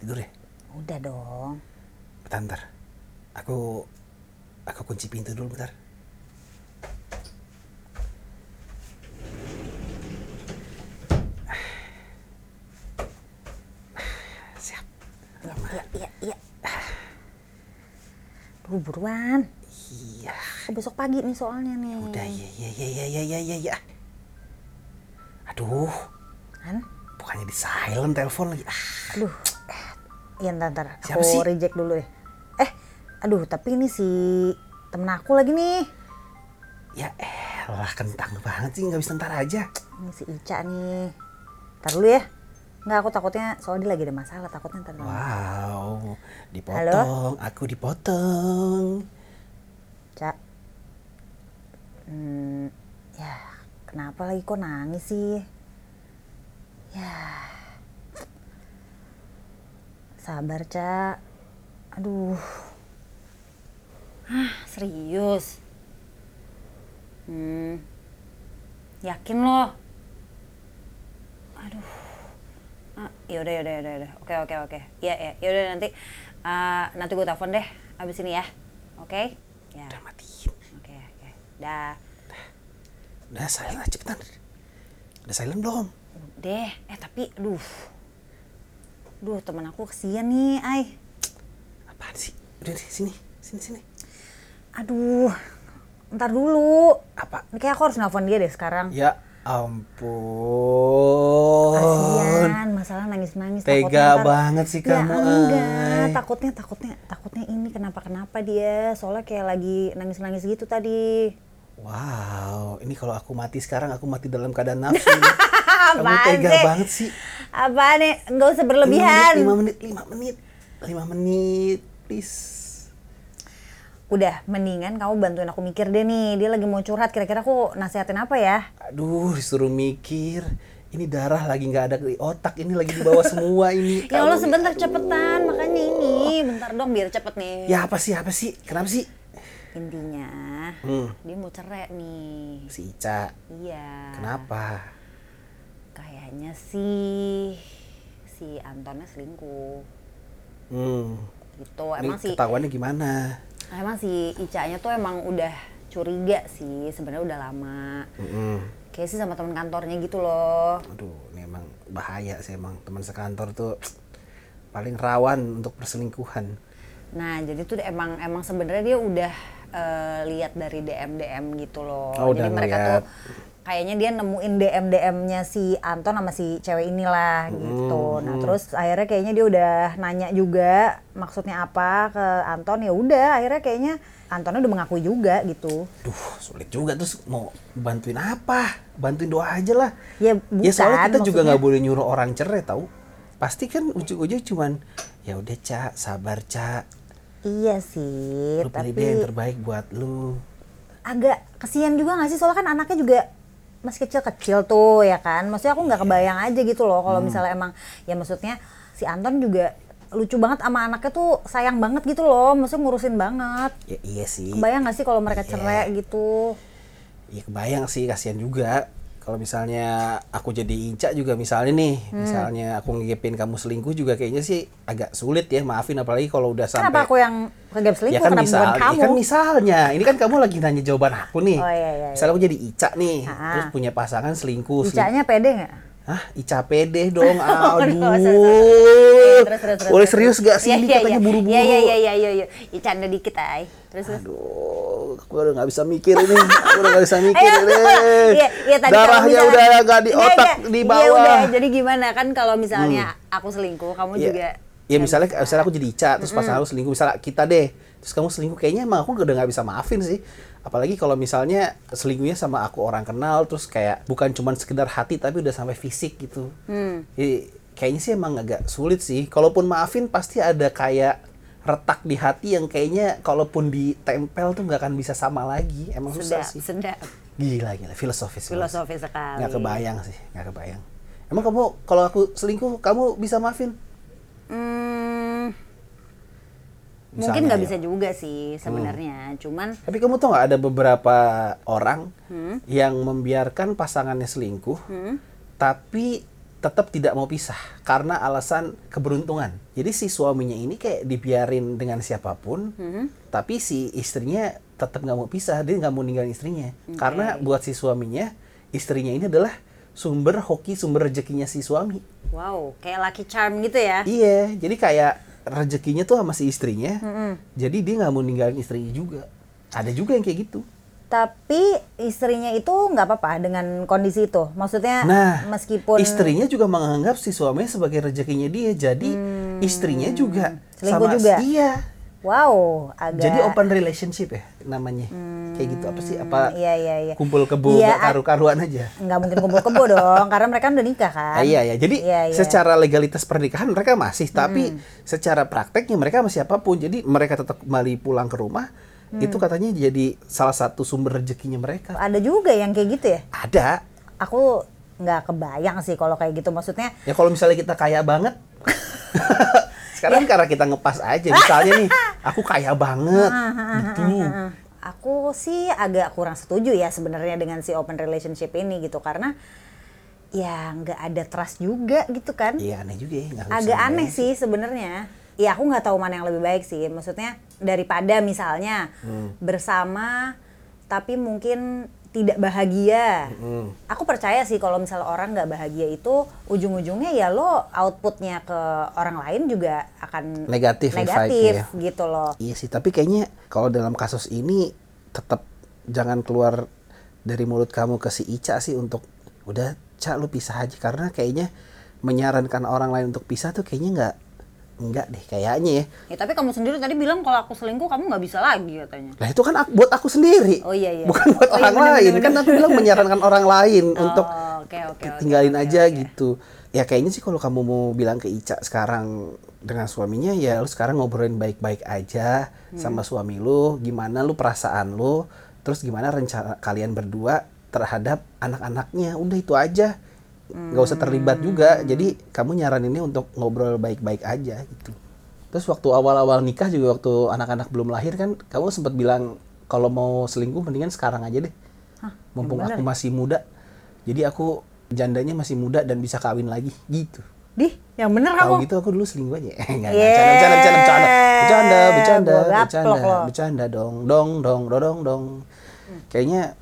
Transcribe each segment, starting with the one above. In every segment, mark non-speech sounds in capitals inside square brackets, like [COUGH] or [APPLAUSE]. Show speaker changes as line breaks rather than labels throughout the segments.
tidur ya?
Udah dong.
Bentar, bentar. Aku aku kunci pintu dulu bentar. Siap.
Iya, iya, iya, iya. Duh, buruan.
Iya.
Ke besok pagi nih soalnya nih.
Udah, ya, ya, ya, ya, ya, ya, ya, ya. Aduh,
Kan?
bukannya di silent telepon lagi. Ah,
Aduh. Iya, ntar, ntar.
Siapa
Aku
sih?
reject dulu deh. Eh, aduh, tapi ini si temen aku lagi nih.
ya elah, kentang banget sih, nggak bisa ntar aja.
Ini si Ica nih. Ntar dulu ya. Nggak, aku takutnya soalnya dia lagi ada masalah. Takutnya ntar lama.
Wow, dipotong, aku dipotong.
Ca. Hmm, ya, kenapa lagi kok nangis sih? Ya. Sabar, Ca. Aduh. Ah, serius. Hmm. Yakin loh. Aduh. Ah, yaudah, yaudah, yaudah, yaudah. Oke, oke, oke. Iya, iya. Yaudah nanti ah, nanti gue telepon deh abis ini ya. Oke? Ya.
Udah matiin.
Oke, oke. Dah.
Udah silent aja, cepetan. Udah silent belum?
Deh, eh tapi aduh. Duh, temen aku kesian nih, ay.
Apaan sih? Udah deh, sini, sini, sini.
Aduh. Ntar dulu.
Apa?
Ini kayak aku harus nelfon dia deh sekarang.
Ya ampun.
Kasian, masalah nangis-nangis.
Tega
takutnya ntar-
banget sih kamu,
Ya enggak,
ay.
takutnya, takutnya, takutnya ini kenapa-kenapa dia. Soalnya kayak lagi nangis-nangis gitu tadi. [LAUGHS]
Wow, ini kalau aku mati sekarang aku mati dalam keadaan nafsu.
[LAUGHS]
kamu
Apaan
tega
sih?
banget Iya, sih.
Apaan nih? Nggak usah berlebihan.
5 menit, 5 menit, 5 menit, please.
Udah, mendingan kamu bantuin aku mikir deh nih. Dia lagi mau curhat, kira-kira aku nasihatin apa ya?
Aduh, disuruh mikir. Ini darah lagi nggak ada di otak, ini lagi di
[LAUGHS]
bawah semua ini.
Ya Allah
Kamu-
sebentar cepetan, makanya ini. Bentar dong biar cepet
Oh.
nih.
Ya apa sih, apa sih? Kenapa sih?
Intinya,
Hmm.
dia mau cerai nih.
Si Ica,
Iya.
kenapa?
Kayaknya sih si Antonnya selingkuh
Hmm.
gitu.
Ini
Emang si
ketahuannya gimana?
emang si Icanya tuh emang udah curiga sih sebenarnya udah lama.
Mm-mm.
Kayak sih sama teman kantornya gitu loh.
Aduh, ini emang bahaya sih emang. Teman sekantor tuh paling rawan untuk perselingkuhan.
Nah, jadi tuh emang emang sebenarnya dia udah eh, lihat dari DM DM gitu loh.
Oh,
jadi
udah
mereka tuh
ngeliat.
kayaknya dia nemuin DM DM-nya si Anton sama si cewek inilah gitu.
Hmm,
Nah, terus akhirnya kayaknya dia udah nanya juga maksudnya apa ke Anton. Ya udah, akhirnya kayaknya Antonnya udah mengakui juga gitu.
Duh, sulit juga terus mau bantuin apa? Bantuin doa aja lah.
Ya, bukan,
Ya soalnya kita juga
maksudnya-
nggak boleh nyuruh orang cerai tahu. Pasti kan ujung-ujung cuman ya udah Ca, sabar Ca.
Iya sih,
Lu pilih dia yang
tapi
terbaik buat lu.
agak kesian juga nggak sih soalnya kan anaknya juga masih kecil-kecil tuh ya kan maksudnya aku nggak kebayang aja gitu loh
Hmm.
kalau misalnya emang ya maksudnya si Anton juga lucu banget sama anaknya tuh sayang banget gitu loh maksudnya ngurusin banget
Ya iya sih.
kebayang nggak sih kalau mereka
Iya.
cerai gitu
Ya kebayang sih kasihan juga. Kalau misalnya aku jadi Ica juga misalnya nih,
Hmm.
misalnya aku ngegepin kamu selingkuh juga kayaknya sih agak sulit ya, maafin apalagi kalau udah sampai
kenapa Kan aku yang kegap
Ya
selingkuh
kan
kenapa
misal,
bukan
ya
kamu
kan misalnya, ini kan kamu lagi nanya jawaban aku nih.
Oh, iya, iya,
Misalnya aku jadi Ica nih,
Ah.
terus punya pasangan selingkuh. selingkuh.
Icanya Oh, pede nggak
Hah, Ica pede
[LAUGHS]
dong. Aduh.
Iya, terus, terus, terus,
Eh, Boleh
terus.
serius gak sih?
Iya,
Ini
iya,
katanya
iya.
buru-buru.
Iya, iya, iya, iya, iya, iya. Icanda dikit, ay. Terus, terus.
Aduh, aku udah gak bisa mikir ini. Aku udah
[LAUGHS]
gak bisa mikir ini.
Iya, iya tadi kalau
Darahnya
misalnya-
udah gak di
Enggak,
otak,
enggak.
di
Iya udah,
bawah. Hmm.
jadi gimana kan kalau misalnya aku selingkuh, kamu
Iya.
juga
Ya misalnya, misalnya aku jadi Ica, terus pasangan aku selingkuh, misalnya kita deh, terus kamu selingkuh, kayaknya emang aku udah nggak bisa maafin sih. Apalagi kalau misalnya selingkuhnya sama aku orang kenal, terus kayak bukan cuman sekedar hati, tapi udah sampai fisik gitu.
Hmm.
Jadi kayaknya sih emang agak sulit sih. Kalaupun maafin pasti ada kayak retak di hati yang kayaknya kalaupun ditempel tuh nggak akan bisa sama lagi. Emang susah
sedap,
sih.
sedap.
Gila gila, filosofis. banget.
Filosofi sekali.
Nggak kebayang sih, nggak kebayang. Emang kamu kalau aku selingkuh, kamu bisa maafin?
Hmm, mungkin
Misalnya, ya.
nggak
ayo.
bisa juga
Hmm.
sih sebenarnya, cuman
Tapi kamu tau nggak ada beberapa orang yang membiarkan pasangannya selingkuh, tapi tetap tidak mau pisah karena alasan keberuntungan. Jadi si suaminya ini kayak dibiarin dengan siapapun, tapi si istrinya tetap nggak mau pisah, dia nggak mau ninggalin istrinya. Karena buat si suaminya, istrinya ini adalah sumber hoki, sumber rezekinya si suami.
Wow, kayak lucky charm gitu ya.
Iya, jadi kayak rezekinya tuh sama si istrinya, jadi dia nggak mau ninggalin istrinya juga. Ada juga yang kayak gitu.
Tapi istrinya itu nggak apa-apa dengan kondisi itu. Maksudnya
Nah,
meskipun
istrinya juga menganggap si suaminya sebagai rezekinya dia, jadi istrinya juga
Hmm, Selingkuh
sama
juga?
iya.
wow, agak
Jadi open relationship ya namanya, kayak gitu apa sih? Apa
Hmm, iya, iya, iya.
kumpul kebo
Iya,
nggak karu-karuan aja?
nggak mungkin kumpul kebo dong karena mereka udah nikah kan.
Ah, iya ya, jadi
Iya, Hmm. iya.
secara legalitas pernikahan mereka masih, tapi secara prakteknya mereka masih apapun. Jadi mereka tetap kembali pulang ke rumah,
Hmm.
itu katanya jadi salah satu sumber rezekinya mereka.
Ada juga yang kayak gitu ya.
Ada.
Aku nggak kebayang sih kalau kayak gitu. Maksudnya
Ya kalau misalnya kita kaya
[LAUGHS]
banget,
Ya.
sekarang karena kita ngepas aja. Misalnya
[LAUGHS]
nih, aku kaya banget,
Ah,
gitu.
aku sih agak kurang setuju ya sebenarnya dengan si open relationship ini gitu karena ya nggak ada trust juga gitu kan.
Iya aneh juga ya. nggak
agak
usah
aneh
ngebayangin.
sih sebenarnya. Ya aku nggak tahu mana yang lebih baik sih. Maksudnya daripada misalnya
Hmm.
bersama tapi mungkin tidak bahagia.
Hmm.
Aku percaya sih kalau misalnya orang nggak bahagia itu ujung-ujungnya ya lo outputnya ke orang lain juga akan
Negatif
negatif
efeknya
gitu loh.
Iya sih, tapi kayaknya kalau dalam kasus ini tetap jangan keluar dari mulut kamu ke si Ica sih untuk udah Ca lu pisah aja karena kayaknya menyarankan orang lain untuk pisah tuh kayaknya nggak nggak deh kayaknya ya.
Ya tapi kamu sendiri tadi bilang kalau aku selingkuh kamu nggak bisa lagi katanya.
Lah itu kan aku- buat aku sendiri.
Oh, iya, iya.
Bukan buat
Oh, iya,
orang
bener,
lain.
bener,
Kan
bener.
aku bilang menyarankan orang lain untuk
[LAUGHS] Oh, oke, oke, oke,
tinggalin
oke,
aja
oke.
gitu. Ya kayaknya sih kalau kamu mau bilang ke Ica sekarang dengan suaminya ya lu sekarang ngobrolin baik-baik aja
Hmm.
sama suami lu, gimana lu perasaan lu, terus gimana rencana kalian berdua terhadap anak-anaknya. Udah itu aja. nggak usah terlibat
Hmm.
juga. Jadi kamu nyaraninnya untuk ngobrol baik-baik aja gitu. Terus waktu awal-awal nikah juga waktu anak-anak belum lahir kan kamu sempat bilang kalau mau selingkuh mendingan sekarang aja deh. Mumpung
bener
aku masih muda. Jadi aku jandanya masih muda dan bisa kawin lagi gitu.
Dih, yang bener
Kalau
kamu.
gitu aku dulu selingkuh aja. Eh, [LAUGHS] Enggak,
Yeah.
bercanda, bercanda, bercanda, bercanda, bercanda,
Gua gaplok
bercanda,
lo.
bercanda, dong, dong, dong, dong, dong. Kayaknya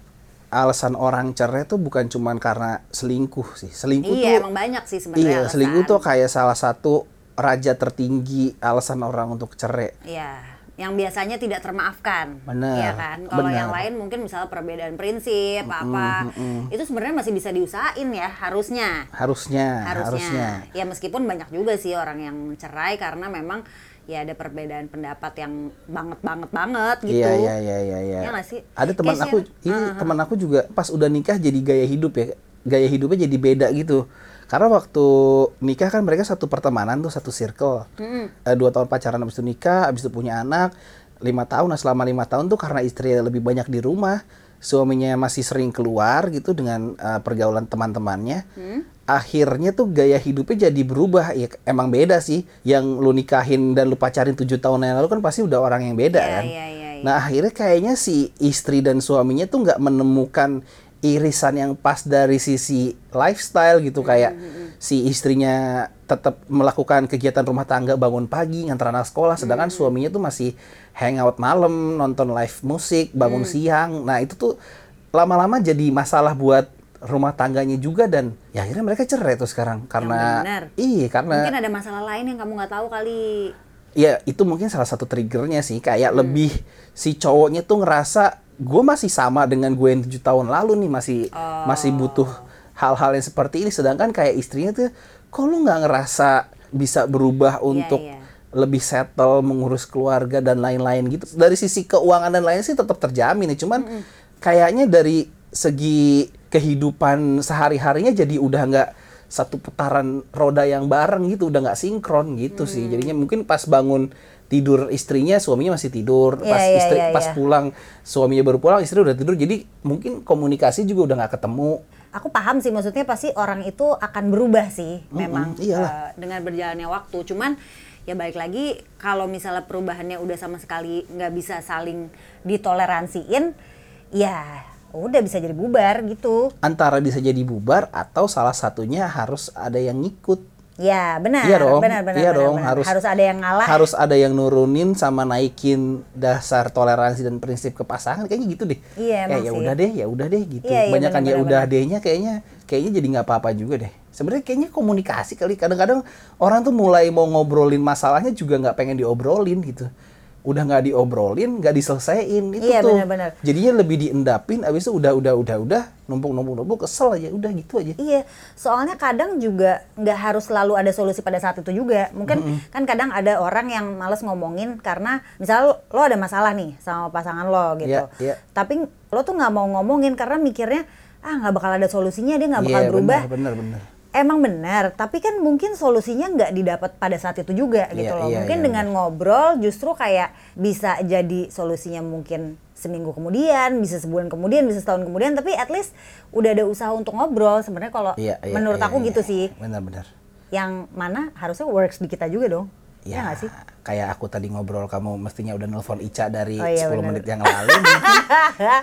alasan orang cerai tuh bukan cuman karena selingkuh sih. Selingkuh tuh
Iya, emang banyak sih sebenarnya.
Iya, selingkuh
alasan.
tuh kayak salah satu raja tertinggi alasan orang untuk cerai.
Iya, yang biasanya tidak termaafkan.
Benar,
Iya kan? Kalau
benar.
yang lain mungkin misalnya perbedaan prinsip apa, itu sebenarnya masih bisa diusahain ya harusnya.
Harusnya, Nah, harusnya.
Harusnya. Ya meskipun banyak juga sih orang yang cerai karena memang ya ada perbedaan pendapat yang banget banget banget gitu.
Iya, iya, iya, iya, iya.
Iya nggak sih?
Ada teman
Kayak
aku,
siapa-
ini teman aku juga pas udah nikah jadi gaya hidup ya. Gaya hidupnya jadi beda gitu. Karena waktu nikah kan mereka satu pertemanan tuh satu circle. Eh, dua tahun pacaran habis itu nikah, habis itu punya anak lima tahun. Nah selama lima tahun tuh karena istri lebih banyak di rumah, suaminya masih sering keluar gitu dengan eh, pergaulan teman-temannya.
Hmm.
Akhirnya tuh gaya hidupnya jadi berubah. Ya emang beda sih. Yang lu nikahin dan lu pacarin tujuh tahun yang lalu kan pasti udah orang yang beda
Iya,
kan.
iya, iya, iya.
Nah akhirnya kayaknya si istri dan suaminya tuh nggak menemukan irisan yang pas dari sisi lifestyle gitu
Hmm,
kayak si istrinya tetap melakukan kegiatan rumah tangga bangun pagi ngantar anak sekolah
Hmm,
sedangkan suaminya tuh masih hangout malam nonton live musik bangun
Hmm.
siang nah itu tuh lama-lama jadi masalah buat rumah tangganya juga dan ya akhirnya mereka cerai tuh sekarang karena
benar.
iya karena
Mungkin ada masalah lain yang kamu nggak tahu kali.
ya itu mungkin salah satu triggernya sih kayak
Hmm.
lebih si cowoknya tuh ngerasa gue masih sama dengan gue yang tujuh tahun lalu nih masih
Oh.
masih butuh hal-hal yang seperti ini sedangkan kayak istrinya tuh kok lu nggak ngerasa bisa berubah untuk
iya.
lebih settle mengurus keluarga dan lain-lain gitu dari sisi keuangan dan lain sih tetap terjamin ya cuman kayaknya dari segi kehidupan sehari harinya jadi udah nggak satu putaran roda yang bareng gitu udah nggak sinkron gitu sih jadinya mungkin pas bangun tidur istrinya suaminya masih tidur
Iya,
pas
iya,
istri
iya,
pas
iya.
pulang suaminya baru pulang istri udah tidur jadi mungkin komunikasi juga udah nggak ketemu
aku paham sih maksudnya pasti orang itu akan berubah sih memang
iyalah.
eh, dengan berjalannya waktu cuman ya baik lagi kalau misalnya perubahannya udah sama sekali nggak bisa saling ditoleransiin ya udah bisa jadi bubar gitu.
Antara bisa jadi bubar atau salah satunya harus ada yang ngikut.
Ya benar,
Iya dong,
benar, benar,
iya
benar,
dong,
benar.
harus-
ada yang ngalah.
Harus ada yang nurunin sama naikin dasar toleransi dan prinsip ke pasangan kayaknya gitu deh.
Iya, emang
Kayak ya
sih.
udah deh, ya udah deh gitu.
Iya, iya,
Banyakan ya
benar-benar,
udah dehnya kayaknya kayaknya jadi nggak apa-apa juga deh. Sebenarnya kayaknya komunikasi kali kadang-kadang orang tuh mulai mau ngobrolin masalahnya juga nggak pengen diobrolin gitu. Udah nggak diobrolin, nggak diselesain itu
Iya,
tuh.
benar-benar.
Jadinya lebih diendapin abis itu udah udah udah udah numpuk numpuk numpuk kesel aja udah gitu aja.
Iya, soalnya kadang juga nggak harus selalu ada solusi pada saat itu juga. Mungkin kan kadang ada orang yang males ngomongin karena misalnya lo, lo ada masalah nih sama pasangan lo gitu.
Iya, iya.
Tapi lo tuh nggak mau ngomongin karena mikirnya ah nggak bakal ada solusinya dia nggak bakal
Iya,
berubah.
Bener bener bener.
Emang benar, tapi kan mungkin solusinya nggak didapat pada saat itu juga gitu
Iya,
loh.
iya,
mungkin
iya,
dengan ngobrol justru kayak bisa jadi solusinya mungkin seminggu kemudian, bisa sebulan kemudian, bisa setahun kemudian, tapi at least udah ada usaha untuk ngobrol sebenarnya kalau
Iya, iya,
menurut
iya,
aku
iya.
gitu sih.
Bener bener.
Yang mana harusnya works di kita juga dong. Iya
Ya,
nggak sih?
kayak aku tadi ngobrol kamu mestinya udah nelpon Ica dari
Oh, iya,
10
bener.
menit yang lalu.
[LAUGHS]
mungkin.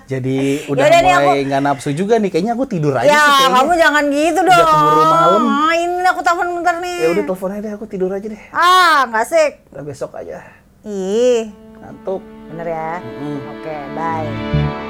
Jadi udah
Yaudah nih,
mulai
aku-
nggak nafsu juga nih. Kayaknya aku tidur aja
Ya,
sih kayaknya.
kamu jangan gitu
Udah
dong.
keburu malam.
Ah, Ini aku telepon bentar nih.
Ya udah telepon aja deh, aku tidur aja deh.
Ah, nggak asik.
Udah besok aja.
Ih,
Ngantuk.
bener ya.
Mm.
Oke, bye.